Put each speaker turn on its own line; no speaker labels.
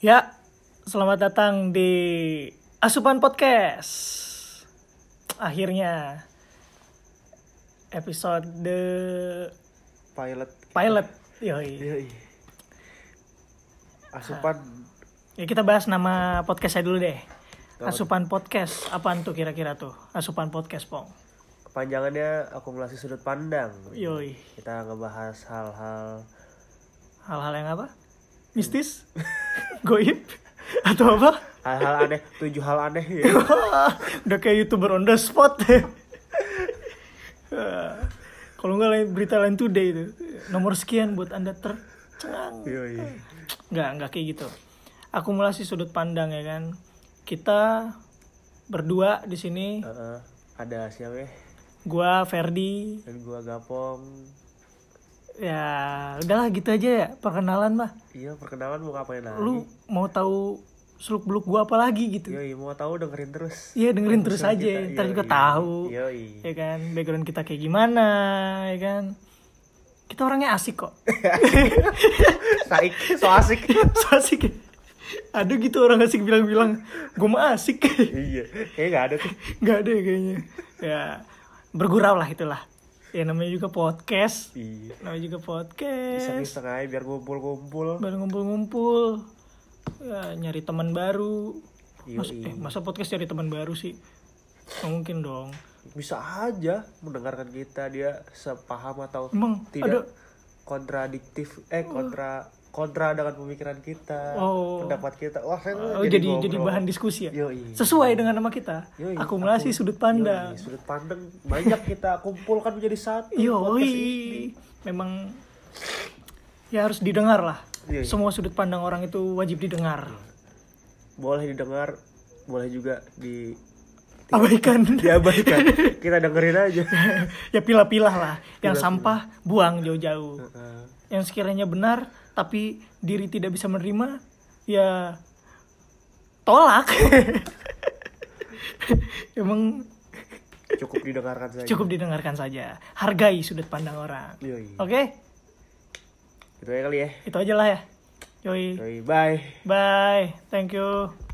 Ya, selamat datang di Asupan Podcast. Akhirnya episode
pilot Iya,
pilot. Yoi.
Yoi. asupan
Ya kita bahas nama podcast saya dulu deh.
Apa
Asupan Podcast. Apaan tuh kira-kira tuh? Asupan Podcast, Pong.
kepanjangannya akumulasi sudut pandang
Yoi.
kita ngebahas hal-hal
Hal-hal yang apa? Mistis? Goib? Atau apa?
hal-hal aneh tujuh hal aneh ya
Udah kayak youtuber on the spot. Kalau nggak lain- berita lain today itu nomor sekian buat anda tercengang.
Yoi.
Nggak nggak kayak gitu. Akumulasi sudut pandang ya kan. Kita berdua di sini,
Heeh. ada siapa ya
gua Ferdi.
dan gua gapong
Ya udahlah gitu aja ya perkenalan mah.
iya perkenalan mau ngapain lagi
Lu mau tahu seluk beluk gua apa lagi gitu?
Yoi, mau tahu dengerin terus
Iya dengerin terus
Urusan
aja,
kita,
ntar juga
yoi.
tahu.
Yoi.
ya kan background kita kayak gimana ya kan kita orangnya asik kok
Saik, so asik.
So asik ya? ada gitu orang asik bilang-bilang gue mah asik
iya, kayaknya nggak ada tuh.
nggak ada ya kayaknya ya bergurau lah itulah ya namanya juga podcast
Iya.
namanya juga podcast
Iseng-iseng aja biar ngumpul-ngumpul.
baru ngumpul-ngumpul ya, nyari teman baru Mas-
Yoi.
eh, masa podcast cari teman baru sih Nggak mungkin dong
bisa aja mendengarkan kita dia sepaham atau
Emang
tidak kontradiktif eh kontra kontra dengan pemikiran kita
Oh.
pendapat kita wah saya
Oh, jadi jadi, bahan diskusi ya.
Yoi.
Sesuai dengan nama kita.
Yoi,
akumulasi
akum-
sudut pandang.
sudut pandang banyak kita kumpulkan menjadi satu
Yoi.
podcast ini.
Memang ya harus didengar lah.
Yoi.
Semua sudut pandang orang itu wajib didengar.
boleh didengar boleh juga di
Iya. Abaikan.
diabaikan kita dengerin aja
ya pilah-pilah Iya. lah. Yang sampah buang jauh-jauh.
Heeh.
Yang sekiranya benar tapi diri tidak bisa menerima ya tolak. Emang
cukup didengarkan saja
cukup didengarkan saja. Hargai sudut pandang orang.
Yoi.
Oke?
itu aja kali ya
itu aja lah ya. Yoi.
Yoi, bye
Bye. Thank you.